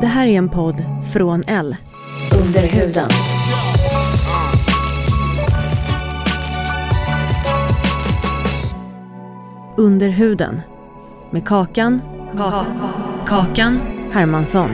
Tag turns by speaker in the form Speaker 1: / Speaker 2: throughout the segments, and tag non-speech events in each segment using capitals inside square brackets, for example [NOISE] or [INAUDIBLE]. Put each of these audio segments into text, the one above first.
Speaker 1: Det här är en podd från L.
Speaker 2: Under huden.
Speaker 1: Under huden. Med Kakan. Ka- kakan Hermansson.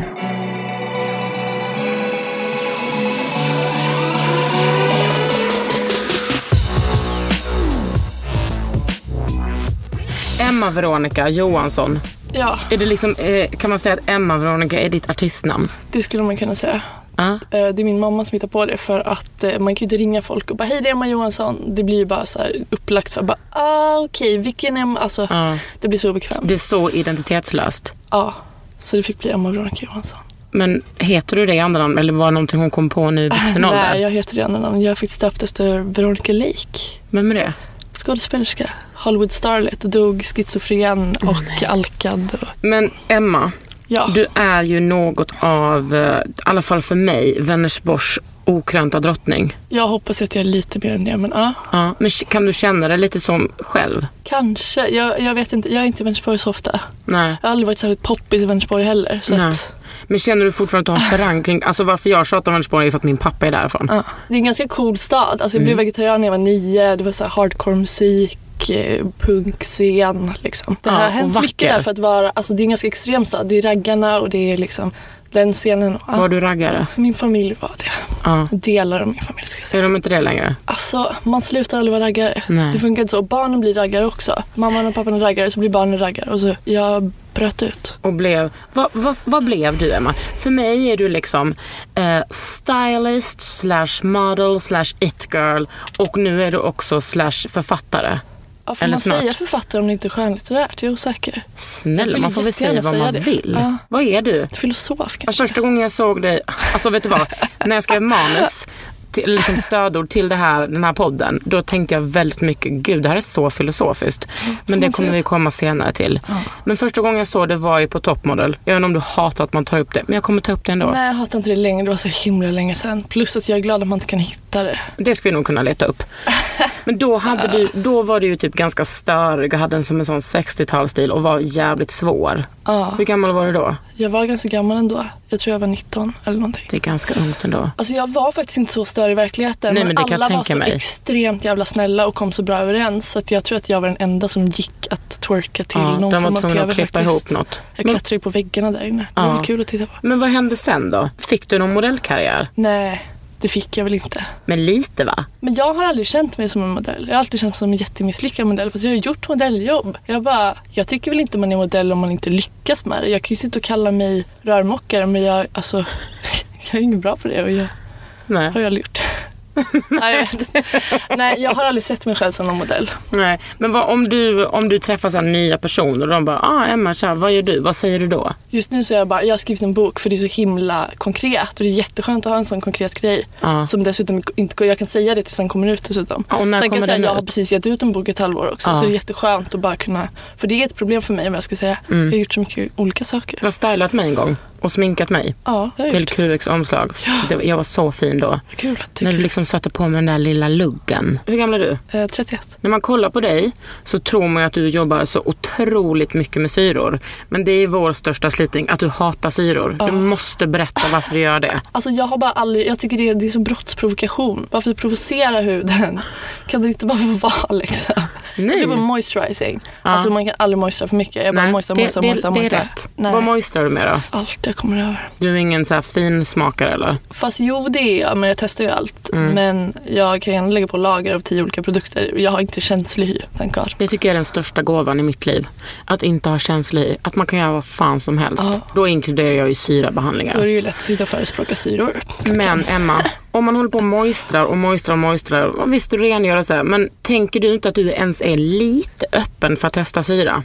Speaker 3: Emma Veronica Johansson.
Speaker 4: Ja,
Speaker 3: Är det liksom, eh, kan man säga att Emma Veronica är ditt artistnamn?
Speaker 4: det skulle man kunna säga.
Speaker 3: Ja.
Speaker 4: Eh, Det är min mamma som hittar på det för att eh, man kan ju inte ringa folk och bara hej det är Emma Johansson. Det blir ju bara så här upplagt för bara ah okej vilken Emma, alltså
Speaker 3: Ja.
Speaker 4: det blir så obekvämt.
Speaker 3: Det är så identitetslöst.
Speaker 4: Ja, så det fick bli Emma Veronica Johansson.
Speaker 3: Men heter du det i andra namn eller var det någonting hon kom på nu i [LAUGHS] vuxen
Speaker 4: Nej,
Speaker 3: ålder?
Speaker 4: jag heter det andra namn. Jag fick döpt efter Veronica Lake.
Speaker 3: Vem är det?
Speaker 4: Skådespelerska, Hollywood Starlet, dog schizofren och alkad. Och,
Speaker 3: Men Emma,
Speaker 4: ja,
Speaker 3: Mm. du är ju något av, eh, i alla fall för mig, Vänersborgs okrönta drottning.
Speaker 4: jag hoppas att jag är lite mer än det men ja,
Speaker 3: Ja, men k- kan du känna dig lite som själv?
Speaker 4: kanske. Jag, jag vet inte, jag är inte i Vänersborg så ofta.
Speaker 3: Nej.
Speaker 4: Jag har aldrig varit särskilt poppis i Vänersborg heller. Så
Speaker 3: Nej.
Speaker 4: att,
Speaker 3: Men känner du fortfarande att du har en förankring? Alltså varför jag tjatar om Vänersborg är för att min pappa är därifrån.
Speaker 4: Ja. Det är en ganska cool stad. Alltså jag blev vegetarian när jag var nio. Det var så här hardcore musik, eh, punkscen. Liksom. Det
Speaker 3: Ja,
Speaker 4: har
Speaker 3: och
Speaker 4: hänt
Speaker 3: vacker.
Speaker 4: mycket där för att vara, alltså det är en ganska extrem stad. Det är raggarna och det är liksom den scenen. Ja.
Speaker 3: Var du raggare?
Speaker 4: Min familj var det.
Speaker 3: Ja.
Speaker 4: Delar av min familj ska jag säga.
Speaker 3: Är de inte det längre?
Speaker 4: Alltså man slutar aldrig vara raggare.
Speaker 3: Nej.
Speaker 4: Det funkar inte så. Barnen blir raggare också. Mamman och pappan är raggare så blir barnen raggare. Och så jag bröt ut.
Speaker 3: Och blev... Vad vad- vad blev du Emma? För mig är du liksom eh, stylist slash model slash it girl och nu är du också slash författare.
Speaker 4: Ja, får
Speaker 3: Eller
Speaker 4: man
Speaker 3: snart.
Speaker 4: säga författare om det inte är skönlitterärt? Jag är osäker. Jag
Speaker 3: Snälla
Speaker 4: vill
Speaker 3: man får väl säga
Speaker 4: jättegärna
Speaker 3: vad
Speaker 4: säga
Speaker 3: man
Speaker 4: det.
Speaker 3: vill.
Speaker 4: Ja.
Speaker 3: Vad är du?
Speaker 4: Filosof kanske.
Speaker 3: Alltså, första gången jag såg dig, alltså vet du vad? när jag skrev manus, till, eller liksom stödord till det här, den här podden, då tänkte jag väldigt mycket, gud det här är så filosofiskt. Men det
Speaker 4: man
Speaker 3: kommer
Speaker 4: säga
Speaker 3: vi
Speaker 4: så?
Speaker 3: komma senare till. Men första gången jag såg det var ju på Topmodel. Jag vet inte om du hatar att man tar upp det, men jag kommer ta upp det ändå.
Speaker 4: Nej, jag hatar inte det längre. Det var så himla länge sedan. Plus att jag är glad att man inte kan hitta det.
Speaker 3: Det ska vi nog kunna leta
Speaker 4: [LAUGHS]
Speaker 3: upp. Men då, hade du, då var du ju typ ganska störig och hade en, som en sån 60-talsstil och var jävligt svår.
Speaker 4: Ja.
Speaker 3: Hur gammal var du då?
Speaker 4: Jag var ganska gammal ändå. Jag tror jag var 19 eller någonting.
Speaker 3: Det är ganska ungt ändå.
Speaker 4: Alltså jag var faktiskt inte så större i verkligheten.
Speaker 3: Nej, men det kan jag
Speaker 4: alla var
Speaker 3: tänka
Speaker 4: så
Speaker 3: mig.
Speaker 4: extremt jävla snälla och kom så bra överens. Så att jag tror att jag var den enda som gick att twerka till
Speaker 3: Ja,
Speaker 4: någon
Speaker 3: de var
Speaker 4: form av
Speaker 3: tvungna
Speaker 4: TV
Speaker 3: att klippa
Speaker 4: faktiskt.
Speaker 3: ihop något.
Speaker 4: Jag
Speaker 3: Men-
Speaker 4: klättrade ju på väggarna där inne. Det
Speaker 3: Ja.
Speaker 4: var väl kul att titta på.
Speaker 3: Men vad hände sen då? Fick du någon modellkarriär?
Speaker 4: Nej, det fick jag väl inte.
Speaker 3: Men lite va?
Speaker 4: Men jag har aldrig känt mig som en modell. Jag har alltid känt mig som en jättemisslyckad modell. Fast jag har ju gjort modelljobb. Jag bara, jag tycker väl inte man är modell om man inte lyckas med det. Jag kan ju sitta och kalla mig rörmokare men jag, alltså, [LAUGHS] jag är ingen bra på det och jag
Speaker 3: Nej.
Speaker 4: har ju aldrig gjort det. [LAUGHS] Nej, jag vet inte. Nej, jag har aldrig sett mig själv som någon modell.
Speaker 3: Nej. Men vad, om, du, om du träffar så här nya personer och de bara ah, “Emma, tja, vad gör du?” Vad säger du då?
Speaker 4: Just nu så är jag bara, jag har skrivit en bok för det är så himla konkret och det är jätteskönt att ha en sån konkret grej.
Speaker 3: Ja.
Speaker 4: Som dessutom inte går, jag kan säga det tills den kommer ut dessutom.
Speaker 3: Ja, och när
Speaker 4: Sen kan
Speaker 3: kommer
Speaker 4: jag säga,
Speaker 3: den
Speaker 4: jag har
Speaker 3: ut?
Speaker 4: precis gett ut en bok i ett halvår också.
Speaker 3: Ja.
Speaker 4: Så det är
Speaker 3: Mm.
Speaker 4: jätteskönt att bara kunna, för det är ett problem för mig om jag ska säga. Jag har gjort så mycket olika saker.
Speaker 3: Du har stylat mig en gång. och sminkat mig
Speaker 4: Ja, det har jag
Speaker 3: till
Speaker 4: gjort.
Speaker 3: QX omslag. Det, jag var så fin då.
Speaker 4: Vad kul att
Speaker 3: När
Speaker 4: du
Speaker 3: du liksom satte på mig den där lilla luggen. Hur gammal är du?
Speaker 4: Eh, 31.
Speaker 3: När man kollar på dig så tror man ju att du jobbar så otroligt mycket med syror. Men det är vår största slitning, att du hatar syror. Du måste berätta varför du gör det.
Speaker 4: Alltså jag har bara aldrig, jag tycker det är, det är som brottsprovokation. Varför provocera huden? Kan det inte bara få vara liksom? Jag
Speaker 3: Nej.
Speaker 4: kör på moisturizing. Alltså man kan aldrig moistra för mycket. Jag bara
Speaker 3: Nej,
Speaker 4: moistra,
Speaker 3: det,
Speaker 4: moistra,
Speaker 3: det,
Speaker 4: moistra,
Speaker 3: det är
Speaker 4: moistra.
Speaker 3: rätt.
Speaker 4: Nej.
Speaker 3: Vad moistrar du med då?
Speaker 4: Allt jag kommer över.
Speaker 3: Du är ingen så här fin smakare eller?
Speaker 4: Fast jo det är jag, men jag testar ju allt.
Speaker 3: Mm.
Speaker 4: Men jag kan gärna lägga på lager av tio olika produkter. Jag har inte känslig hy, thank God.
Speaker 3: Det tycker jag är den största gåvan i mitt liv. Att inte ha känslor i. Att man kan göra vad fan som helst.
Speaker 4: Ja.
Speaker 3: Då inkluderar jag ju syrabehandlingar.
Speaker 4: Då är det ju lätt att sitta och förespråka syror.
Speaker 3: Men Emma, om man håller på och moistrar och moistrar och moistrar. och Visst, du rengör och så här, men tänker du inte att du ens är lite öppen för att testa syra?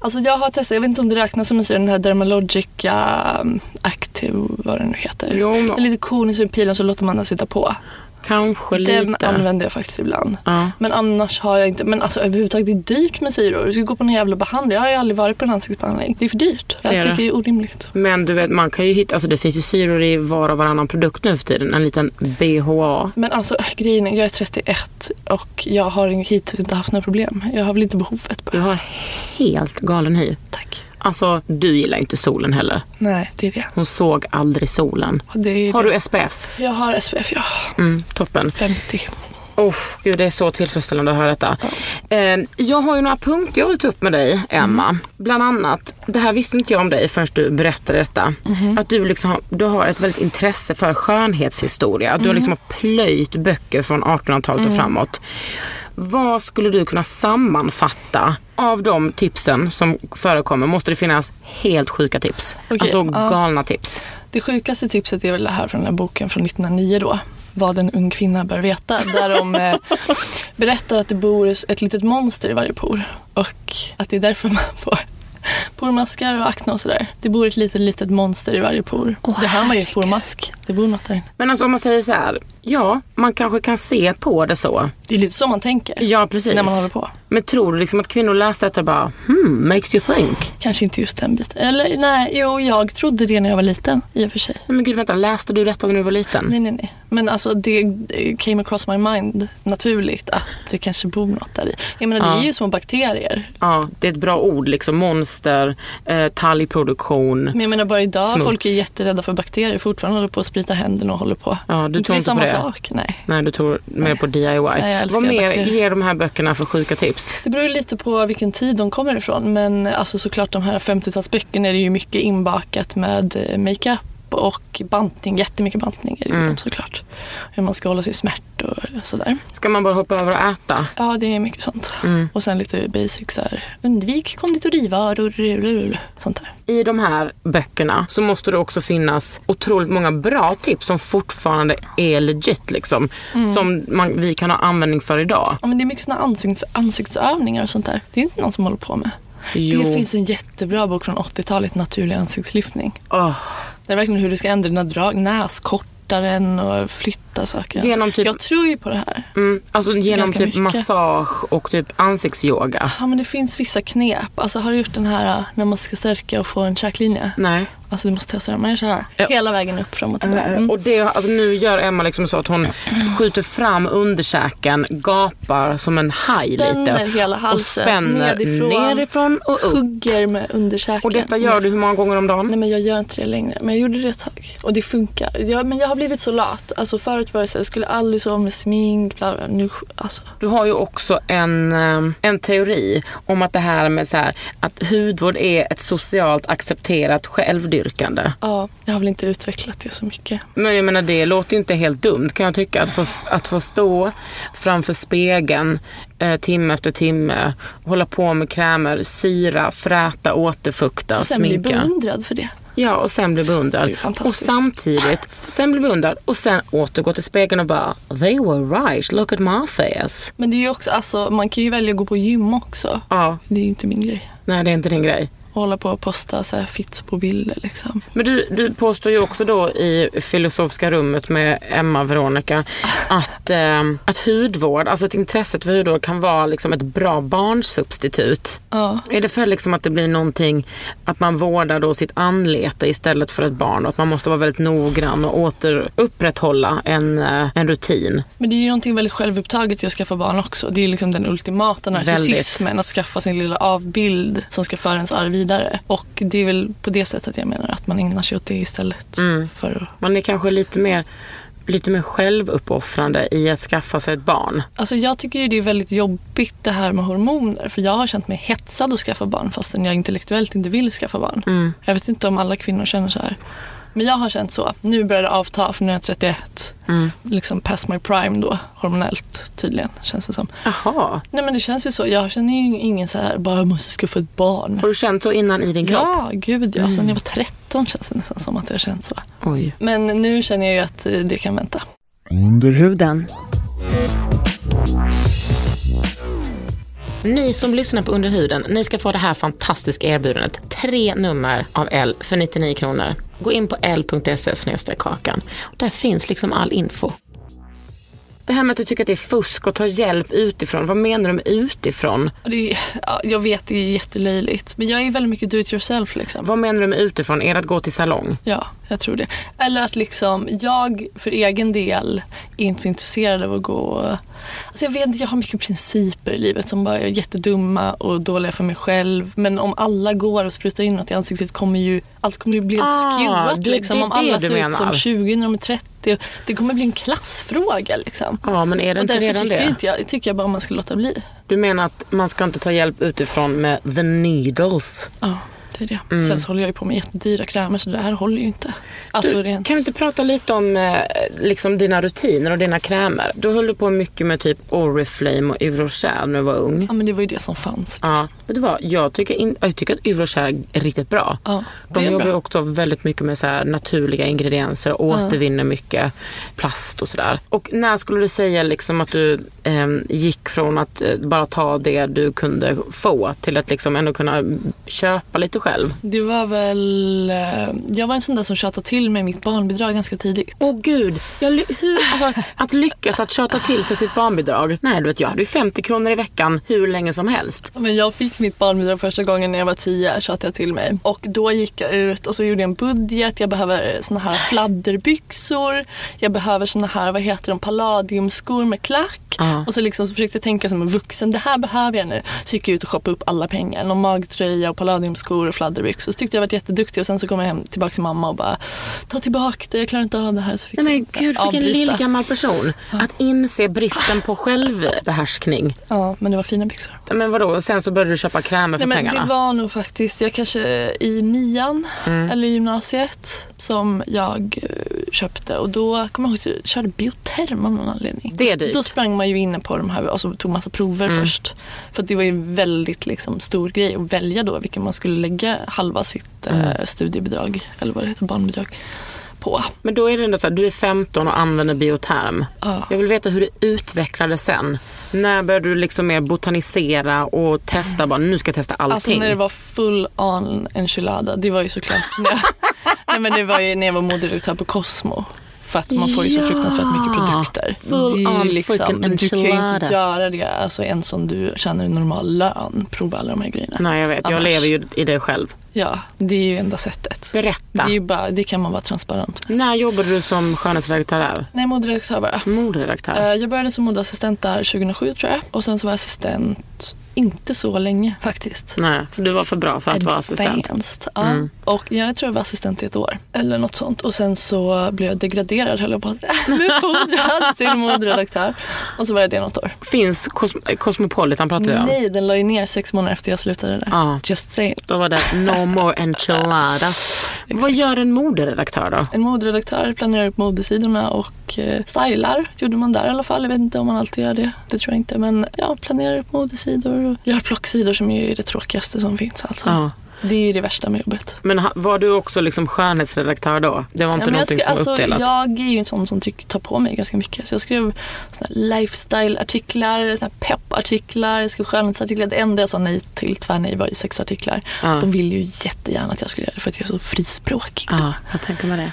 Speaker 4: Alltså jag har testat, jag vet inte om det räknas som en syra, den här Dermalogica um, Active, vad den nu heter.
Speaker 3: Jo, men-
Speaker 4: Den är lite konisk i pilen så låter man den sitta på.
Speaker 3: Kanske
Speaker 4: Den
Speaker 3: lite.
Speaker 4: använder jag faktiskt ibland.
Speaker 3: Ja.
Speaker 4: Men annars har jag inte, men alltså överhuvudtaget det är dyrt med syror. Du ska gå på en jävla behandling. Jag har ju aldrig varit på en ansiktsbehandling. Det är för dyrt. Jag
Speaker 3: Det är
Speaker 4: tycker
Speaker 3: det.
Speaker 4: det är orimligt.
Speaker 3: Men du vet, man kan ju hitta, alltså det finns ju syror i var och varannan produkt nu för tiden. En liten BHA.
Speaker 4: Men alltså grejen är, jag är 31 och jag har ing- hittills inte haft några problem. Jag har väl inte behovet
Speaker 3: Du
Speaker 4: bara.
Speaker 3: har helt galen hy.
Speaker 4: Tack.
Speaker 3: Alltså, du gillar ju inte solen heller.
Speaker 4: Nej, det är det.
Speaker 3: Hon såg aldrig solen.
Speaker 4: Och det är
Speaker 3: Har
Speaker 4: det.
Speaker 3: du SPF?
Speaker 4: Jag har SPF, ja.
Speaker 3: Mm, toppen.
Speaker 4: 50.
Speaker 3: Oh, gud, det är så tillfredsställande att höra detta. Eh, jag har ju några punkter jag vill ta upp med dig, Emma.
Speaker 4: Mm.
Speaker 3: Bland annat, det här visste inte jag om dig förrän du berättade detta.
Speaker 4: Mhm.
Speaker 3: Att du, liksom, har- du har ett väldigt intresse för skönhetshistoria. Att Du har
Speaker 4: Mhm.
Speaker 3: liksom har plöjt böcker från 1800-talet
Speaker 4: Mm.
Speaker 3: och framåt. Vad skulle du kunna sammanfatta av de tipsen som förekommer? Måste det finnas helt sjuka tips?
Speaker 4: Okej,
Speaker 3: alltså
Speaker 4: ja.
Speaker 3: galna tips.
Speaker 4: Det sjukaste tipset är väl det här från den här boken från 1909 då. Vad en ung kvinna bör veta. Där de eh,
Speaker 3: [LAUGHS]
Speaker 4: berättar att det bor ett litet monster i varje por. Och att det är därför man får pormaskar och akne och sådär. Det bor ett litet, litet monster i varje por. det här var ju ett pormask. Det bor något där.
Speaker 3: Men alltså om man säger så här, ja, man kanske kan se på det så.
Speaker 4: Det är lite så man tänker.
Speaker 3: Ja, precis.
Speaker 4: När man håller på.
Speaker 3: Men tror du liksom att kvinnor läser detta och bara hmm, makes you think?
Speaker 4: Kanske inte just den biten. Eller nej, jo, jag trodde det när jag var liten i och för sig.
Speaker 3: Nej men gud vänta, läste du detta när du var liten?
Speaker 4: Nej, nej, nej. Men alltså det eh, came across my mind naturligt att det kanske bor något där i. Jag menar, det är ju små bakterier.
Speaker 3: Ja, det är ett bra ord liksom. Monster, eh, talgproduktion.
Speaker 4: Men jag menar bara idag,
Speaker 3: Smuts.
Speaker 4: folk är jätterädda för bakterier fortfarande, håller på att sprita händerna och håller på.
Speaker 3: Ja, du
Speaker 4: inte
Speaker 3: tror
Speaker 4: det är
Speaker 3: inte
Speaker 4: samma
Speaker 3: på det.
Speaker 4: sak, nej.
Speaker 3: Nej, du tror mer på DIY.
Speaker 4: jag älskar
Speaker 3: Vad mer
Speaker 4: bakterier.
Speaker 3: ger de här böckerna för sjuka tips?
Speaker 4: Det beror ju lite på vilken tid de kommer ifrån men alltså såklart de här 50-talsböckerna är det ju mycket inbakat med eh, makeup och bantning, jättemycket bantning är det ju
Speaker 3: Mm.
Speaker 4: dem såklart. Hur man ska hålla sig smärt och sådär.
Speaker 3: Ska man bara hoppa över och äta?
Speaker 4: Ja, det är mycket sånt.
Speaker 3: Mm.
Speaker 4: Och sen lite basic så här. Undvik konditorivaror, lulul, sånt där.
Speaker 3: I de här böckerna så måste det också finnas otroligt många bra tips som fortfarande är legit liksom. Som man, vi kan ha användning för idag.
Speaker 4: Ja, men det är mycket såna ansikts, ansiktsövningar och sånt där. Det är inte någon som håller på med.
Speaker 3: Jo.
Speaker 4: Det finns en jättebra bok från 80-talet, Naturlig ansiktslyftning.
Speaker 3: Åh.
Speaker 4: Det är verkligen hur du ska ändra dina drag, näskortaren och flytta saker.
Speaker 3: Genom typ-
Speaker 4: Jag tror ju på det här.
Speaker 3: Mm, alltså genom
Speaker 4: Ganska
Speaker 3: typ
Speaker 4: mycket.
Speaker 3: massage och typ ansiktsyoga.
Speaker 4: Ja, men det finns vissa knep. Alltså, har du gjort den här äh, när man ska stärka och få en käklinje?
Speaker 3: Nej.
Speaker 4: Alltså, du måste testa den. Man gör så här.
Speaker 3: Ja. Eh,
Speaker 4: Hela vägen upp, framåt och tillbaka. Mm.
Speaker 3: Och det, alltså nu gör Emma liksom så att hon skjuter fram underkäken, gapar som en haj lite.
Speaker 4: Spänner hela
Speaker 3: Och
Speaker 4: halsen,
Speaker 3: spänner
Speaker 4: nedifrån.
Speaker 3: nerifrån, och upp.
Speaker 4: Hugger med underkäken.
Speaker 3: Och detta gör du hur många gånger om dagen?
Speaker 4: Nej men jag gör inte det längre. Men jag gjorde det ett tag. Och det funkar. Jag, men jag har blivit så lat. Alltså förut var det så här, jag skulle aldrig sova med smink. Bla bla. Nu, alltså.
Speaker 3: Du har ju också en, eh, en teori om att det här med så här, att hudvård är ett socialt accepterat självdyrkande.
Speaker 4: Ja, jag har väl inte utvecklat det så mycket.
Speaker 3: Men jag menar det låter ju inte helt dumt kan jag tycka. Att få, att få stå framför spegeln eh, timme efter timme, hålla på med krämer, syra, fräta, återfukta,
Speaker 4: Sen blir jag
Speaker 3: sminka.
Speaker 4: beundrad för det.
Speaker 3: Ja, och sen bli beundrad.
Speaker 4: Det är
Speaker 3: Och
Speaker 4: fantastiskt.
Speaker 3: samtidigt, sen bli beundrad och sen återgå till spegeln och bara They were right, look at my face.
Speaker 4: Men det är ju också, alltså man kan ju välja att gå på gym också.
Speaker 3: Ja,
Speaker 4: Det är ju inte min grej.
Speaker 3: nej det är inte din grej.
Speaker 4: och hålla på och posta så här fits på bilder liksom.
Speaker 3: Men du, du påstår ju också då i filosofiska rummet med Emma Veronica att, eh, att hudvård, alltså ett intresse för hudvård kan vara liksom ett bra barnsubstitut.
Speaker 4: Ja.
Speaker 3: Är det för liksom att det blir någonting, att man vårdar då sitt anlete istället för ett barn och att man måste vara väldigt noggrann och åter upprätthålla en, eh, en rutin?
Speaker 4: Men det är ju någonting väldigt självupptaget i att skaffa barn också. Det är ju liksom den ultimata narcissismen, att skaffa sin lilla avbild som ska föra ens arv vidare. Och det är väl på det sättet jag menar, att man ägnar sig åt det istället. För att...
Speaker 3: Man är kanske lite mer, lite mer självuppoffrande i att skaffa sig ett barn.
Speaker 4: Alltså jag tycker ju det är väldigt jobbigt det här med hormoner. För jag har känt mig hetsad att skaffa barn fastän jag intellektuellt inte vill skaffa barn. Jag vet inte om alla kvinnor känner så här. Men jag har känt så. Nu börjar det avta för nu är jag 31. Liksom past my prime då, hormonellt tydligen känns det som.
Speaker 3: Jaha,
Speaker 4: Nej men det känns ju så. Jag känner ju ingen så här, bara jag måste skaffa ett barn.
Speaker 3: har du känt så innan i din kropp? Mm.
Speaker 4: Ja, gud ja. Sen jag var 13 känns det nästan som att jag känt så.
Speaker 3: Oj.
Speaker 4: Men nu känner jag ju att eh, det kan vänta.
Speaker 2: Under huden.
Speaker 3: Ni som lyssnar på Under huden, ni ska få det här fantastiska erbjudandet. Tre nummer av L för 99 kronor. Gå in på l.se E kakan. Där finns liksom all info. Det här med att du tycker att det är fusk att ta hjälp utifrån. Vad menar du med utifrån?
Speaker 4: Och Det är, ja, jag vet, det är jättelöjligt. Men jag är väldigt mycket do it yourself liksom.
Speaker 3: Vad menar du med utifrån? Är det att gå till salong?
Speaker 4: Ja, jag tror det. Eller att liksom, jag för egen del är inte så intresserad av att gå... och- Alltså jag vet inte, jag har mycket principer i livet som bara är jättedumma och dåliga för mig själv. Men om alla går och sprutar in något i ansiktet kommer ju allt kommer ju bli ett
Speaker 3: Ah,
Speaker 4: skewat.
Speaker 3: det-
Speaker 4: liksom,
Speaker 3: det är
Speaker 4: om alla
Speaker 3: det du
Speaker 4: ser ut som
Speaker 3: menar.
Speaker 4: 20 när de är 30. Det kommer bli en klassfråga liksom.
Speaker 3: Ja, men är det
Speaker 4: Och
Speaker 3: inte
Speaker 4: därför
Speaker 3: redan
Speaker 4: tycker,
Speaker 3: det?
Speaker 4: Inte jag, tycker jag bara man ska låta bli.
Speaker 3: Du menar att man ska inte ta hjälp utifrån med the needles?
Speaker 4: Ja, det är det. Sen
Speaker 3: Mm.
Speaker 4: så håller jag ju på med jättedyra krämer så det här håller ju inte. Alltså rent...
Speaker 3: Kan vi inte prata lite om eh, liksom dina rutiner och dina krämer? Du höll på mycket med typ Oriflame och Eurochal när du var ung.
Speaker 4: Ja men det var ju det som fanns.
Speaker 3: Ja, vet du vad? Jag tycker, in, jag tycker att Uvroskär är riktigt bra.
Speaker 4: Ja, det
Speaker 3: De
Speaker 4: är
Speaker 3: jobbar ju
Speaker 4: bra.
Speaker 3: också väldigt mycket med så här naturliga ingredienser och återvinner mycket plast och sådär. Och när skulle du säga liksom att du ehm, gick från att eh, bara ta det du kunde få till att liksom ändå kunna köpa lite själv?
Speaker 4: Det var väl... eh, Jag var en sån där som tjatade till mig mitt barnbidrag ganska tidigt.
Speaker 3: Åh gud, jag, ly- hur, alltså, att lyckas att tjata till sig sitt barnbidrag. Nej, du vet jag hade ju 50 kronor i veckan hur länge som helst.
Speaker 4: Men jag fick mitt barnbidrag första gången när jag var tio, tjatade jag till mig. Och då gick jag ut och så gjorde jag en budget. Jag behöver såna här fladderbyxor. Jag behöver såna här, vad heter de, palladiumskor med klack.
Speaker 3: Ja.
Speaker 4: Och så liksom så försökte jag tänka som en vuxen, det här behöver jag nu. Så gick jag ut och shoppade upp alla pengar. Någon magtröja och palladiumskor och fladderbyxor. Så tyckte jag var jätteduktig och sen så kom jag hem tillbaka till mamma och bara, ta tillbaka det, jag klarar inte av det här. Så fick
Speaker 3: Nej men
Speaker 4: jag
Speaker 3: gud vilken
Speaker 4: avbryta.
Speaker 3: lillgammal person. Att inse bristen på självbehärskning.
Speaker 4: Ja, men det var fina byxor.
Speaker 3: Men vadå, sen så började du köpa krämer för
Speaker 4: Nej, men
Speaker 3: pengarna? Mm.
Speaker 4: det var nog faktiskt, jag kanske i nian eller i gymnasiet som jag eh, köpte och då kommer jag ihåg att jag körde bioterm av någon anledning.
Speaker 3: Det är dyrt. Mm.
Speaker 4: Då sprang man ju inne på de här och så tog massa prover först. För att det var ju en väldigt liksom, stor grej att välja då vilken man skulle lägga halva sitt
Speaker 3: Mm.
Speaker 4: eh, studiebidrag eller vad det heter, barnbidrag på.
Speaker 3: Men då är det ändå så här, du är 15 och använder bioterm.
Speaker 4: Ja.
Speaker 3: Jag vill veta hur det utvecklades sen. När började du liksom mer botanisera och testa bara, nu ska jag testa
Speaker 4: Alltså
Speaker 3: allting.
Speaker 4: när det var full on enchilada, det var ju såklart
Speaker 3: [LAUGHS]
Speaker 4: när jag, nej, men det var ju när jag var moderedaktör på Cosmo. För att man får ju så
Speaker 3: Ja,
Speaker 4: fruktansvärt mycket produkter.
Speaker 3: full
Speaker 4: det är
Speaker 3: on
Speaker 4: ju liksom,
Speaker 3: freaking
Speaker 4: du kan ju inte
Speaker 3: enchilada.
Speaker 4: göra det alltså, ens om du tjänar en normal lön. Prova alla de här grejerna.
Speaker 3: Nej jag vet, jag
Speaker 4: Annars-
Speaker 3: lever ju i det själv.
Speaker 4: Ja, det är ju enda sättet.
Speaker 3: Berätta.
Speaker 4: Det, är ju bara, det kan man vara transparent med.
Speaker 3: När jobbade du som skönhetsredaktör där?
Speaker 4: Nej, moderedaktör var jag.
Speaker 3: Mm. Moderedaktör?
Speaker 4: Eh, Jag började som modeassistent där 2007 tror jag. Och sen så var jag assistent inte så länge faktiskt.
Speaker 3: Nej, för du var för bra för att vara assistent. Mm.
Speaker 4: Advanced, Ja. Och jag tror jag var assistent i ett år eller något sånt. Och sen så blev jag degraderad höll jag på att säga. [LAUGHS] Befordrad till moderedaktör. Och så var jag det något år.
Speaker 3: Finns Cos- Cosmopolitan pratar vi om.
Speaker 4: Nej, den la ju ner sex månader efter jag slutade där.
Speaker 3: Ja.
Speaker 4: Just saying.
Speaker 3: Då var det no more enchiladas. Vad gör en moderedaktör då?
Speaker 4: En moderedaktör planerar upp modesidorna och eh, stylar gjorde man där i alla fall. Jag vet inte om man alltid gör det. Det tror jag inte. Men ja, planerar upp modesidor och gör plocksidor som ju är det tråkigaste som finns. Alltså.
Speaker 3: Ja.
Speaker 4: Det är ju det värsta med jobbet.
Speaker 3: Men ha- var du också liksom skönhetsredaktör då? Det var inte
Speaker 4: men jag,
Speaker 3: någonting
Speaker 4: ska,
Speaker 3: som var
Speaker 4: alltså,
Speaker 3: uppdelat?
Speaker 4: jag är ju en sån som tycker, tar på mig ganska mycket. Så jag skrev såna här lifestyle-artiklar, såna här peppartiklar, jag skrev skönhetsartiklar. Det enda jag sa nej till, tvärnej, var ju sexartiklar.
Speaker 3: Ja.
Speaker 4: De ville ju jättegärna att jag skulle göra det för att jag är så frispråkig.
Speaker 3: Ja, jag tänker mig det.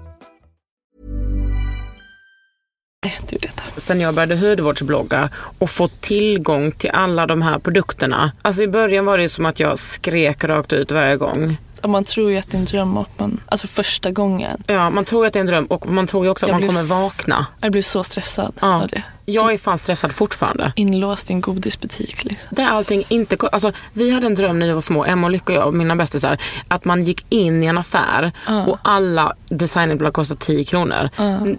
Speaker 4: Nej, det är det.
Speaker 3: sen jag började hudvårdsblogga och få tillgång till alla de här produkterna. Alltså i början var det ju som att jag skrek rakt ut varje gång.
Speaker 4: Ja, Man tror ju att det är en dröm att man, alltså första gången.
Speaker 3: Ja, man tror ju att det är en dröm och man tror ju också att
Speaker 4: Jag
Speaker 3: man
Speaker 4: blev
Speaker 3: kommer
Speaker 4: s-
Speaker 3: vakna.
Speaker 4: Jag blev så stressad
Speaker 3: Ja.
Speaker 4: av det.
Speaker 3: Jag är fan stressad fortfarande.
Speaker 4: Inlåst i en godisbutik liksom.
Speaker 3: Där allting inte... ko- Alltså, vi hade en dröm när vi var små, Emma och Lycka och jag, och mina bästisar, att man gick in i en affär och alla designblad kostar 10 kronor.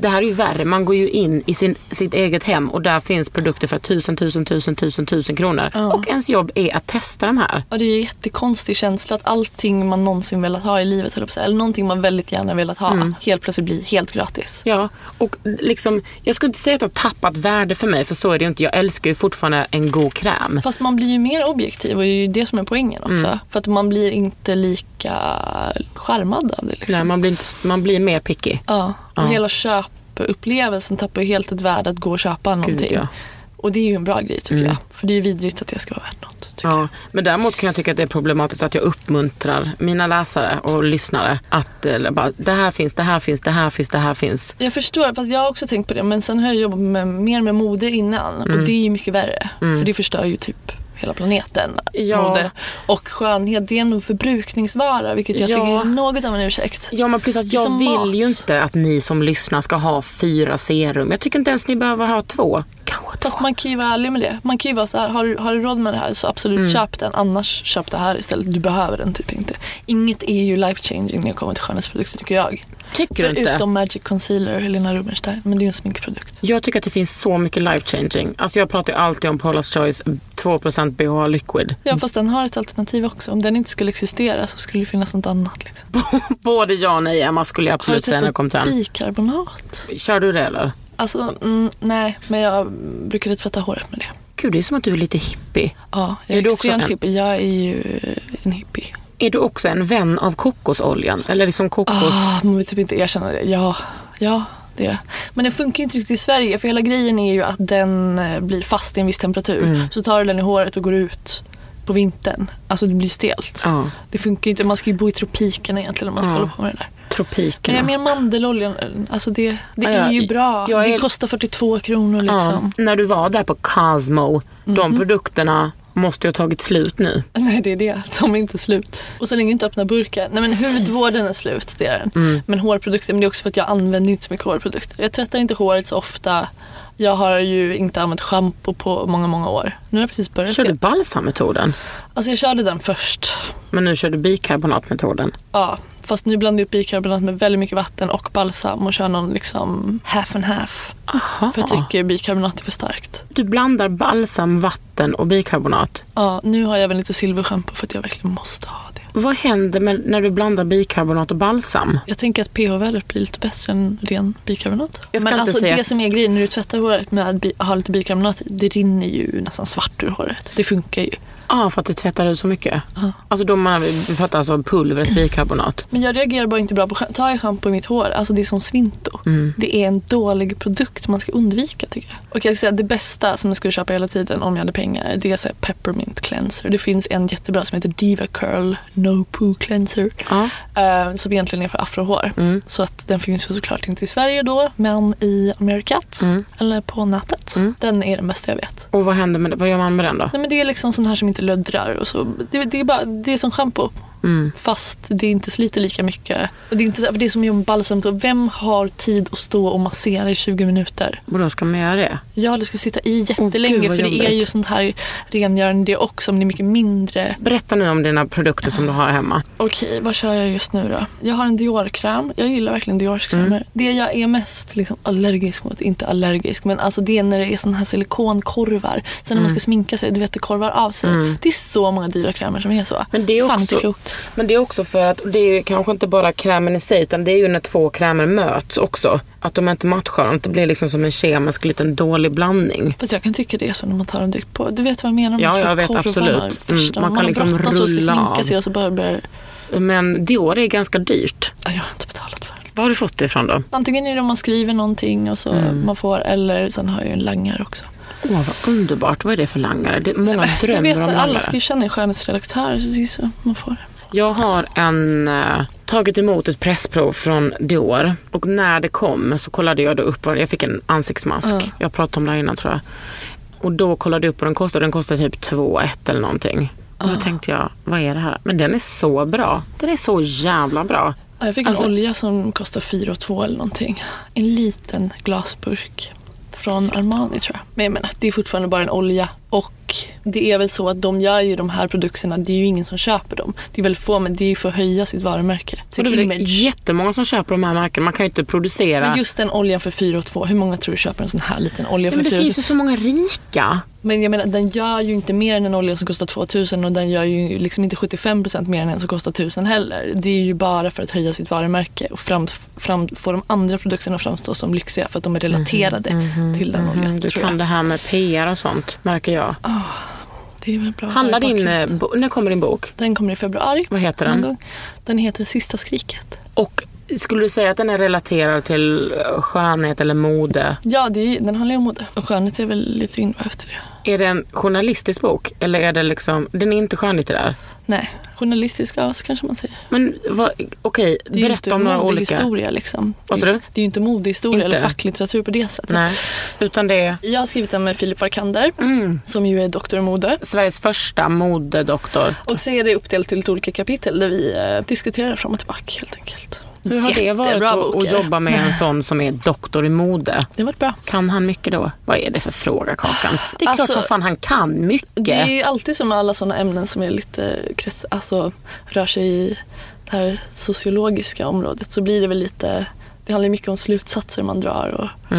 Speaker 3: Det här är ju värre, man går ju in i sin, sitt eget hem och där finns produkter för tusen, tusen, tusen, tusen, tusen kronor. Och ens jobb är att testa de här.
Speaker 4: Ja, det är en jättekonstig känsla att allting man någonsin velat ha i livet, höll jag på att säga, eller någonting man väldigt gärna velat ha,
Speaker 3: Mm.
Speaker 4: helt plötsligt blir helt gratis.
Speaker 3: Ja, och liksom, jag skulle inte säga att det har tappat värde för mig, för så är det ju inte. Jag älskar ju fortfarande en god kräm.
Speaker 4: Fast man blir ju mer objektiv och det är ju det som är poängen också.
Speaker 3: Mm.
Speaker 4: För att man blir inte lika charmad av det. Liksom.
Speaker 3: Nej, man, blir inte, man blir mer picky.
Speaker 4: Ja, och hela köpupplevelsen tappar ju helt ett värde att gå och köpa någonting.
Speaker 3: ja. Mm.
Speaker 4: Och det är ju en bra grej tycker jag. För det är ju vidrigt att det ska vara värt något. Tycker
Speaker 3: Ja, men däremot kan jag tycka att det är problematiskt att jag uppmuntrar mina läsare och lyssnare att eh, bara, det här finns, det här finns, det här finns, det här finns.
Speaker 4: Jag förstår, fast jag har också tänkt på det. Men sen har jag jobbat med, mer med mode innan
Speaker 3: Mm.
Speaker 4: och det är ju mycket värre. För det förstör ju typ hela planeten.
Speaker 3: Ja.
Speaker 4: Mode och skönhet, det är ändå en förbrukningsvara vilket jag
Speaker 3: Ja.
Speaker 4: tycker är något av en ursäkt.
Speaker 3: Ja, men plus att
Speaker 4: Det är
Speaker 3: jag
Speaker 4: som
Speaker 3: vill
Speaker 4: mat.
Speaker 3: ju inte att ni som lyssnar ska ha fyra serum. Jag tycker inte ens ni behöver ha två. Kanske två.
Speaker 4: Fast man kan ju vara ärlig med det. Man kan ju vara så här, har, du- har du råd med det här så absolut
Speaker 3: Mm.
Speaker 4: köp den. Annars köp det här istället. Du behöver den typ inte. Inget är ju life changing när det kommer till skönhetsprodukter tycker jag.
Speaker 3: Tycker du inte?
Speaker 4: Förutom Magic Concealer och Helena Rubinstein. Men det är ju en sminkprodukt.
Speaker 3: Jag tycker att det finns så mycket life changing. Alltså jag pratar ju alltid om Paula's Choice 2% BHA liquid. [LAUGHS]
Speaker 4: Ja fast den har ett alternativ också. Om den inte skulle existera så skulle det finnas något annat. Liksom.
Speaker 3: Både ja och nej Emma skulle jag
Speaker 4: Har du
Speaker 3: absolut säga när jag kom till
Speaker 4: testat
Speaker 3: den.
Speaker 4: bikarbonat?
Speaker 3: Kör du det eller?
Speaker 4: Alltså mm, nej, men jag brukade tvätta håret med det.
Speaker 3: Gud, det är som att du är lite hippie.
Speaker 4: Ja, jag är,
Speaker 3: Är du också
Speaker 4: extremt
Speaker 3: en?
Speaker 4: hippie. Jag är ju en hippie.
Speaker 3: Är du också en vän av kokosoljan? Eller liksom kokos...
Speaker 4: Ah, man vill typ inte erkänna det. Ja, ja det. är- Men den funkar ju inte riktigt i Sverige för hela grejen är ju att den eh, blir fast i en viss temperatur.
Speaker 3: Mm.
Speaker 4: Så tar du den i håret och går ut på vintern. Alltså det blir ju stelt.
Speaker 3: Ja.
Speaker 4: Det funkar ju inte. Man ska ju bo i tropikerna egentligen om man ska
Speaker 3: Ja.
Speaker 4: hålla på med det där. Men
Speaker 3: Tropikerna.
Speaker 4: jag menar mandeloljan, alltså det, det
Speaker 3: Ja,
Speaker 4: är
Speaker 3: ja,
Speaker 4: ju bra.
Speaker 3: jag
Speaker 4: Det
Speaker 3: är-
Speaker 4: kostar 42 kronor
Speaker 3: Ja,
Speaker 4: liksom. Mhm.
Speaker 3: När du var där på Cosmo, de produkterna måste ju ha tagit slut nu.
Speaker 4: [LAUGHS] Nej det är det, de är inte slut. Och sen är det ju inte öppna burkar. Nej men hudvården är slut, det är den. Men hårprodukter, men det är också för att jag använder inte så mycket hårprodukter. Jag tvättar inte håret så ofta. Jag har ju inte använt schampo på många, många år. Nu har jag precis börjat.
Speaker 3: Kör du
Speaker 4: igen.
Speaker 3: balsammetoden?
Speaker 4: Alltså jag körde den först.
Speaker 3: Men nu kör du bikarbonatmetoden.
Speaker 4: Ja, fast nu blandar jag upp bikarbonat med väldigt mycket vatten och balsam och kör någon liksom half and half.
Speaker 3: Aha.
Speaker 4: För jag tycker bikarbonat är för starkt.
Speaker 3: Du blandar balsam, vatten och bikarbonat.
Speaker 4: Ja, nu har jag även lite silverschampo för att jag verkligen måste ha det.
Speaker 3: Vad händer med, när du blandar bikarbonat och balsam?
Speaker 4: Jag tänker att pH-värdet blir lite bättre än ren bikarbonat.
Speaker 3: Jag ska
Speaker 4: Men
Speaker 3: inte
Speaker 4: alltså
Speaker 3: säga-
Speaker 4: det som är grejen när du tvättar håret med att bi- ha lite bikarbonat i, det rinner ju nästan svart ur håret. Det funkar ju.
Speaker 3: Ja, för att det tvättar ut så mycket. Alltså då man, vi pratar alltså om pulvret bikarbonat.
Speaker 4: Men jag reagerar bara inte bra på schampo. Tar jag schampo i mitt hår, alltså det är som svinto.
Speaker 3: Mm.
Speaker 4: Det är en dålig produkt man ska undvika tycker jag. Och jag ska säga det bästa som jag skulle köpa hela tiden om jag hade pengar, det är så här peppermint cleanser. Det finns en jättebra som heter Diva Curl No Poo Cleanser.
Speaker 3: Ja.
Speaker 4: Eh, som egentligen är för afrohår.
Speaker 3: Mm.
Speaker 4: Så att den finns ju såklart inte i Sverige då, men i Amerikat.
Speaker 3: Mm.
Speaker 4: Eller på nätet. Den är den bästa jag vet.
Speaker 3: Och vad händer med det? Vad gör man med den då?
Speaker 4: Nej, men det är liksom sån här som inte löddrar. Och så. Det, det, är bara, det är som schampo.
Speaker 3: Mm.
Speaker 4: Fast det inte sliter lika mycket. Och det, är inte, så- för det är som en balsam. så Vem har tid att stå och massera i 20 minuter?
Speaker 3: Och då ska man göra det?
Speaker 4: Ja, det ska sitta i
Speaker 3: Åh,
Speaker 4: jättelänge.
Speaker 3: gud, vad
Speaker 4: för det är
Speaker 3: jobbigt.
Speaker 4: ju sånt här rengörande det också. Men det är mycket mindre.
Speaker 3: Berätta nu om dina produkter som du har hemma.
Speaker 4: Okej, vad kör jag just nu då? Jag har en Dior-kräm. Jag gillar verkligen Dior-krämer.
Speaker 3: Mm.
Speaker 4: Det jag är mest liksom, allergisk mot, inte allergisk, men alltså det är när det är såna här silikonkorvar. Sen när man
Speaker 3: Mm.
Speaker 4: ska sminka sig, du vet det korvar av sig. Det är så många dyra krämer som är så.
Speaker 3: Men det, är
Speaker 4: Fan, inte
Speaker 3: också,
Speaker 4: klokt.
Speaker 3: men det är också för att det är kanske inte bara krämen i sig utan det är ju när två krämer möts också. Att de inte matchar, att det blir liksom som en kemisk liten dålig blandning.
Speaker 4: Fast jag kan tycka det är så när man tar dem direkt på. Du vet vad jag menar? Man
Speaker 3: Ja,
Speaker 4: ska
Speaker 3: jag vet
Speaker 4: korvarna
Speaker 3: absolut.
Speaker 4: först
Speaker 3: Mm, man
Speaker 4: när Man,
Speaker 3: kan
Speaker 4: har
Speaker 3: liksom
Speaker 4: bråttom så ska
Speaker 3: rulla av.
Speaker 4: sminka sig och så bara börjar...
Speaker 3: Men Dior är ganska dyrt.
Speaker 4: Ja, jag har inte betalat för det.
Speaker 3: Var har du fått det ifrån då?
Speaker 4: Antingen är det om man skriver någonting och så
Speaker 3: Mm.
Speaker 4: man får, eller sen har jag ju en langare också.
Speaker 3: Åh, vad underbart. Vad är det för langare? Det, många drömmer
Speaker 4: Äh, jag vet
Speaker 3: om
Speaker 4: att alla
Speaker 3: langare.
Speaker 4: ska ju känna en skönhetsredaktör, så det är ju så man får.
Speaker 3: Jag har en, eh, tagit emot ett pressprov från Dior och när det kom så kollade jag då upp vad Jag fick en ansiktsmask. Jag pratade om det här innan tror jag. Och då kollade jag upp vad den kostade. Den kostade typ 2 ett eller någonting. Och då tänkte jag, vad är det här? Men den är så bra. Den är så jävla bra.
Speaker 4: Ja, Jag fick
Speaker 3: Alltså-
Speaker 4: en olja som kostar 4 2 eller någonting. En liten glasburk från Armani tror jag. Men jag menar, det är fortfarande bara en olja. Och det är väl så att de gör ju de här produkterna, det är ju ingen som köper dem. Det är väl få, men det är ju för att höja sitt varumärke.
Speaker 3: Och
Speaker 4: Sitt
Speaker 3: det är väl
Speaker 4: image.
Speaker 3: jättemånga som köper de här märkena. Man kan ju inte producera.
Speaker 4: Men just den oljan för 4 2 hur många tror du köper en sån här liten
Speaker 3: Nej,
Speaker 4: olja för
Speaker 3: men det
Speaker 4: 4
Speaker 3: finns ju så många rika.
Speaker 4: Men jag menar, den gör ju inte mer än en olja som kostar 2000 och den gör ju liksom inte 75% mer än en som kostar 1000 heller. Det är ju bara för att höja sitt varumärke och fram, fram, få de andra produkterna att framstå som lyxiga för att de är relaterade till den oljan.
Speaker 3: Du kan
Speaker 4: tror jag.
Speaker 3: Mhm, det här med PR och sånt, märker jag.
Speaker 4: Det är väl bra.
Speaker 3: Handlar
Speaker 4: Jag har
Speaker 3: din... eh,
Speaker 4: bakhuvudet.
Speaker 3: Bo- när kommer din bok?
Speaker 4: Den kommer i februari.
Speaker 3: Vad heter den?
Speaker 4: Någon gång. Den heter Sista skriket.
Speaker 3: Och skulle du säga att den är relaterad till eh, skönhet eller mode?
Speaker 4: Ja, det är, den handlar ju om mode. Och skönhet är väl lite in efter det.
Speaker 3: Är det en journalistisk bok? Eller är det liksom, den är inte skönlitterär?
Speaker 4: Nej, journalistisk, ja, så kanske man säger.
Speaker 3: Men vad- okej,
Speaker 4: Det är ju
Speaker 3: berätta
Speaker 4: inte
Speaker 3: om några olika.
Speaker 4: modehistoria liksom.
Speaker 3: Vad sa
Speaker 4: Det-
Speaker 3: du?
Speaker 4: Det är ju inte modehistoria
Speaker 3: Inte?
Speaker 4: eller facklitteratur på det sättet.
Speaker 3: Nej, utan det är
Speaker 4: Jag har skrivit den med Filip Varkander, som ju är doktor i mode.
Speaker 3: Sveriges första modedoktor.
Speaker 4: Och så är det uppdelat till ett olika kapitel där vi eh, diskuterar fram och tillbaka helt enkelt.
Speaker 3: Hur har det varit
Speaker 4: Jättebra
Speaker 3: att,
Speaker 4: bok
Speaker 3: att
Speaker 4: är det.
Speaker 3: jobba med en sån som är doktor i mode?
Speaker 4: Det har varit bra.
Speaker 3: Kan han mycket då? Vad är det för fråga, Kakan? Det är klart
Speaker 4: Alltså,
Speaker 3: som fan han kan mycket.
Speaker 4: Det är ju alltid som med alla sådana ämnen som är lite krets, alltså, rör sig i det här sociologiska området så blir det väl lite, det handlar ju mycket om slutsatser man drar och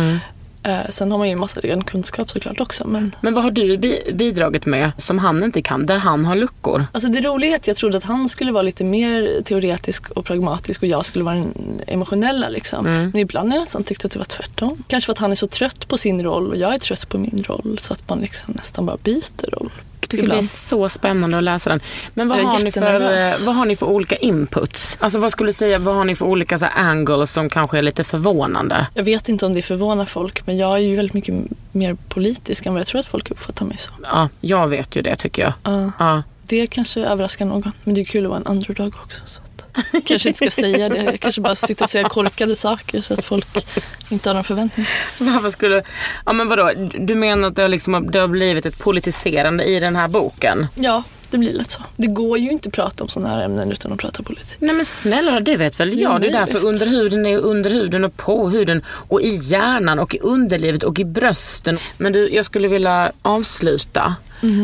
Speaker 4: eh, sen har man ju en massa ren kunskap såklart också men
Speaker 3: Men vad har du bi- bidragit med som han inte kan, där han har luckor?
Speaker 4: Alltså det roliga är att jag trodde att han skulle vara lite mer teoretisk och pragmatisk och jag skulle vara den emotionella. Liksom. Men ibland har jag nästan tyckt att det var tvärtom. Kanske för att han är så trött på sin roll och jag är trött på min roll så att man liksom nästan bara byter roll.
Speaker 3: Det ska bli så spännande att läsa den. Men vad
Speaker 4: Jag är
Speaker 3: har, ni för,
Speaker 4: jättenervös.
Speaker 3: eh, vad har ni för olika inputs? Alltså vad skulle du säga, vad har ni för olika så här, angles som kanske är lite förvånande?
Speaker 4: Jag vet inte om det förvånar folk men jag är ju väldigt mycket mer politisk än vad jag tror att folk uppfattar mig som.
Speaker 3: Ja, jag vet ju det tycker jag.
Speaker 4: Ja.
Speaker 3: Ja. [LAUGHS]
Speaker 4: Det kanske överraskar någon men det är kul att vara en underdog också. Så att jag kanske inte ska säga det. Jag kanske bara sitter och säger korkade saker så att folk inte har någon förväntning.
Speaker 3: Varför skulle, ja men vadå, du menar att det har, liksom, det har blivit ett politiserande i den här boken?
Speaker 4: Ja, det blir lätt så. Det går ju inte att prata om sådana här ämnen utan att prata politik.
Speaker 3: Nej men snälla det vet väl jag. Det är
Speaker 4: jag
Speaker 3: därför
Speaker 4: vet.
Speaker 3: under huden är under huden och på huden och i hjärnan och i underlivet och i brösten. Men du, jag skulle vilja avsluta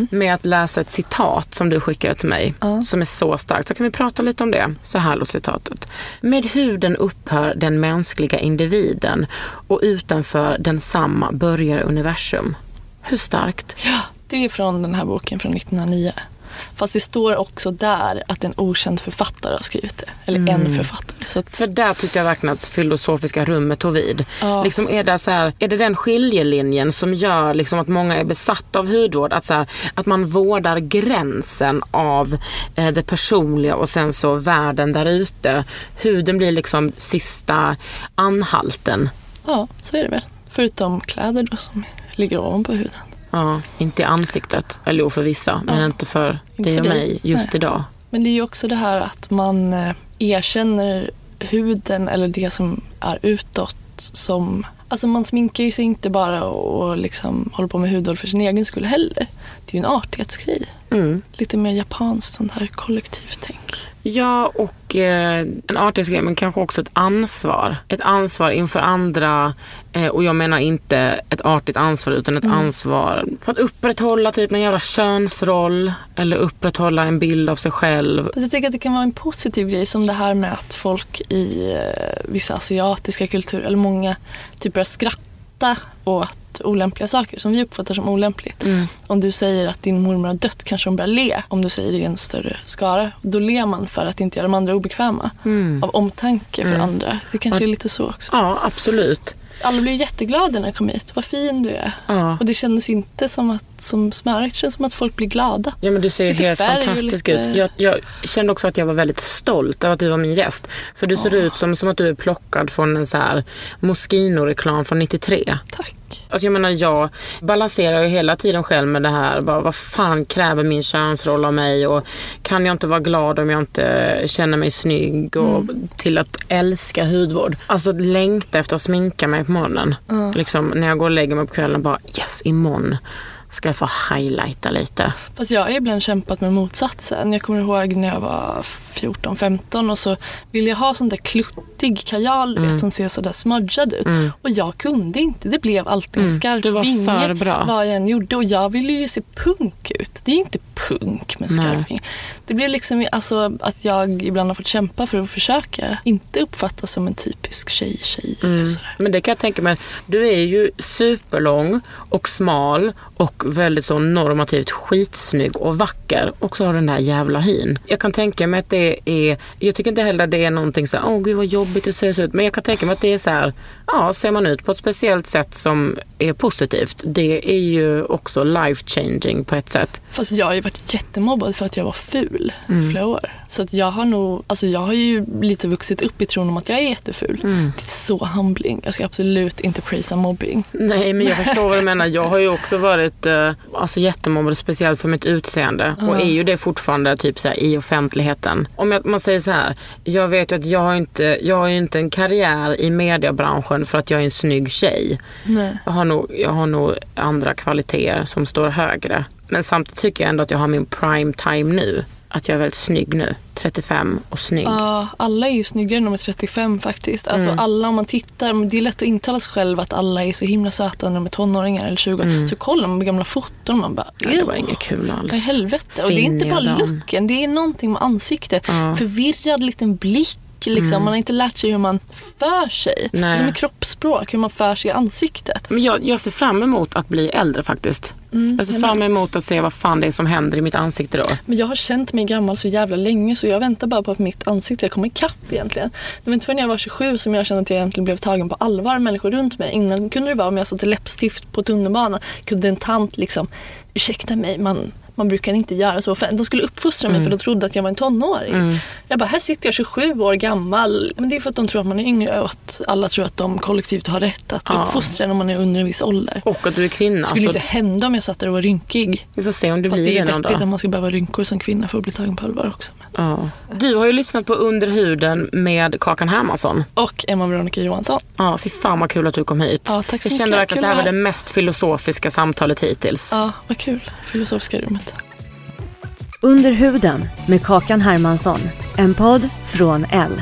Speaker 3: med att läsa ett citat som du skickade till mig som är så starkt. Så kan vi prata lite om det. Så här låter citatet. Med huden upphör den mänskliga individen och utanför densamma börjar universum. Hur starkt?
Speaker 4: Det är från den här boken från 1909. Fast det står också där att en okänd författare har skrivit det. Eller en författare. Så att,
Speaker 3: För där tyckte jag verkligen att filosofiska rummet tog vid. Liksom är, det så här, är det den skiljelinjen som gör liksom att många är besatta av hudvård? Att, så här, att man vårdar gränsen av eh, det personliga och sen så världen där ute. Huden blir liksom sista anhalten.
Speaker 4: ja, så är det väl. Förutom kläder då som ligger ovanpå huden.
Speaker 3: Ja, inte i ansiktet. Eller jo, för vissa, men inte för
Speaker 4: Inte
Speaker 3: dig och
Speaker 4: för dig.
Speaker 3: mig just
Speaker 4: Nej.
Speaker 3: idag.
Speaker 4: Men det är ju också det här att man eh, erkänner huden eller det som är utåt som... Alltså man sminkar ju sig inte bara och liksom håller på med hudvård för sin egen skull heller. Det är ju en artighetsgrej. Lite mer japanskt sånt här kollektivtänk.
Speaker 3: Ja, och eh, en artighetsgrej men kanske också ett ansvar. Ett ansvar inför andra eh, och jag menar inte ett artigt ansvar utan ett
Speaker 4: Mm.
Speaker 3: ansvar för att upprätthålla typ en jävla könsroll eller upprätthålla en bild av sig själv.
Speaker 4: Fast jag tycker att det kan vara en positiv grej som det här med att folk i eh, vissa asiatiska kulturer, eller många, typ börjar skratta åt olämpliga saker som vi uppfattar som olämpligt.
Speaker 3: Mm.
Speaker 4: Om du säger att din mormor har dött kanske de börjar le om du säger det i en större skara. Då ler man för att inte göra de andra obekväma.
Speaker 3: Mm.
Speaker 4: Av omtanke för andra. Det kanske är lite så också.
Speaker 3: Ja, absolut.
Speaker 4: Alla blev jätteglada när jag kom hit. Vad fin du är.
Speaker 3: Ja.
Speaker 4: Och det kändes inte som att, som smörigt, det känns som att folk blir glada.
Speaker 3: Ja men du ser
Speaker 4: Lite
Speaker 3: helt
Speaker 4: färg och
Speaker 3: fantastisk
Speaker 4: lite-
Speaker 3: ut. Jag, jag kände också att jag var väldigt stolt över att du var min gäst. För du ser ut som, som att du är plockad från en så här Moschino-reklam från 93.
Speaker 4: Tack.
Speaker 3: Alltså jag menar jag balanserar ju hela tiden själv med det här. Bara, vad fan kräver min könsroll av mig? Och kan jag inte vara glad om jag inte känner mig snygg? Och Till att älska hudvård. Alltså att längta efter att sminka mig på morgonen. Liksom, när jag går och lägger mig på kvällen bara yes imorgon ska jag få highlighta lite.
Speaker 4: Fast jag har ibland kämpat med motsatsen. Jag kommer ihåg när jag var 14-15 och så ville jag ha sån där kluttig kajal du
Speaker 3: Mm.
Speaker 4: vet, som ser sådär smudgad ut. Och jag kunde inte. Det blev alltid en skarp
Speaker 3: Mm. Det var
Speaker 4: vinge
Speaker 3: för bra.
Speaker 4: vad jag än gjorde. Och jag ville ju se punk ut. Det är inte punk med
Speaker 3: Nej.
Speaker 4: skarp vinge. Det blev liksom alltså, att jag ibland har fått kämpa för att försöka inte uppfattas som en typisk tjej-tjej. Mm.
Speaker 3: Men det kan jag tänka mig. Du är ju superlång och smal och väldigt så normativt skitsnygg och vacker. Och så har du den där jävla hyn. Jag kan tänka mig att det är... Jag tycker inte heller det är någonting så här, åh gud vad jobbigt det ser ut. Men jag kan tänka mig att det är så här, ja, ser man ut på ett speciellt sätt som är positivt. Det är ju också life changing på ett sätt.
Speaker 4: Fast jag har ju varit jättemobbad för att jag var ful
Speaker 3: Mm.
Speaker 4: i flera år. Så att jag har nog, alltså jag har ju lite vuxit upp i tron om att jag är jätteful.
Speaker 3: Mm.
Speaker 4: Det är så humbling. Jag ska absolut inte prisa mobbing.
Speaker 3: Nej, men jag förstår vad du menar. Jag har ju också varit eh, alltså jättemobbad, speciellt för mitt utseende. Och är ju det fortfarande typ så här, i offentligheten. Om jag, man säger så här, jag vet ju att jag har, inte, jag har ju inte en karriär i mediebranschen för att jag är en snygg tjej.
Speaker 4: Nej.
Speaker 3: Jag har nog, jag har nog andra kvaliteter som står högre. Men samtidigt tycker jag ändå att jag har min prime time nu. Att jag är väldigt snygg nu. 35 och snygg.
Speaker 4: Ja, alla är ju snyggare när de är 35 faktiskt. Alltså
Speaker 3: Mm.
Speaker 4: alla om man tittar, men det är lätt att intala sig själv att alla är så himla söta när de är tonåringar eller 20 Så kollar man på gamla foton och man bara,
Speaker 3: Nej, Mm. det var inget kul alls.
Speaker 4: Vad i helvete. Och det är inte
Speaker 3: Finniga
Speaker 4: bara
Speaker 3: dam.
Speaker 4: looken, det är någonting med ansiktet. Förvirrad liten blick. Liksom. Man har inte lärt sig hur man för sig.
Speaker 3: Nej.
Speaker 4: Det är som ett kroppsspråk, hur man för sig i ansiktet.
Speaker 3: Men jag, jag ser fram emot att bli äldre faktiskt.
Speaker 4: Mm,
Speaker 3: jag ser fram emot att se vad fan det är som händer i mitt ansikte då.
Speaker 4: Men jag har känt mig gammal så jävla länge så jag väntar bara på att mitt ansikte ska komma ikapp egentligen. Det var inte förrän jag var 27 som jag kände att jag egentligen blev tagen på allvar av människor runt mig. Innan kunde det vara om jag satte läppstift på tunnelbanan kunde en tant liksom, ursäkta mig, man, man brukar inte göra så. För de skulle uppfostra mig för de trodde att jag var en tonåring. Jag bara, här sitter jag 27 år gammal. Men det är för att de tror att man är yngre och att alla tror att de kollektivt har rätt att uppfostra en om man är under en viss ålder.
Speaker 3: Och att du är kvinna.
Speaker 4: det skulle
Speaker 3: Så
Speaker 4: inte hända om jag satt där och var rynkig.
Speaker 3: vi får se om du
Speaker 4: Fast
Speaker 3: blir
Speaker 4: det är ju
Speaker 3: någon dag.
Speaker 4: deppigt att man ska behöva rynkor som kvinna för att bli tagen på allvar också. Men-
Speaker 3: Ja. Du har ju lyssnat på Under huden med Kakan Hermansson.
Speaker 4: Och Emma Veronica Johansson.
Speaker 3: Ja, fy fan vad kul att du kom hit.
Speaker 4: Ja, tack så
Speaker 3: jag kände
Speaker 4: mycket.
Speaker 3: verkligen att
Speaker 4: Kul
Speaker 3: det här
Speaker 4: att
Speaker 3: var det
Speaker 4: vara
Speaker 3: mest filosofiska samtalet hittills.
Speaker 4: Ja, vad kul. Filosofiska rummet.
Speaker 1: Under huden med Kakan Hermansson. En podd från L.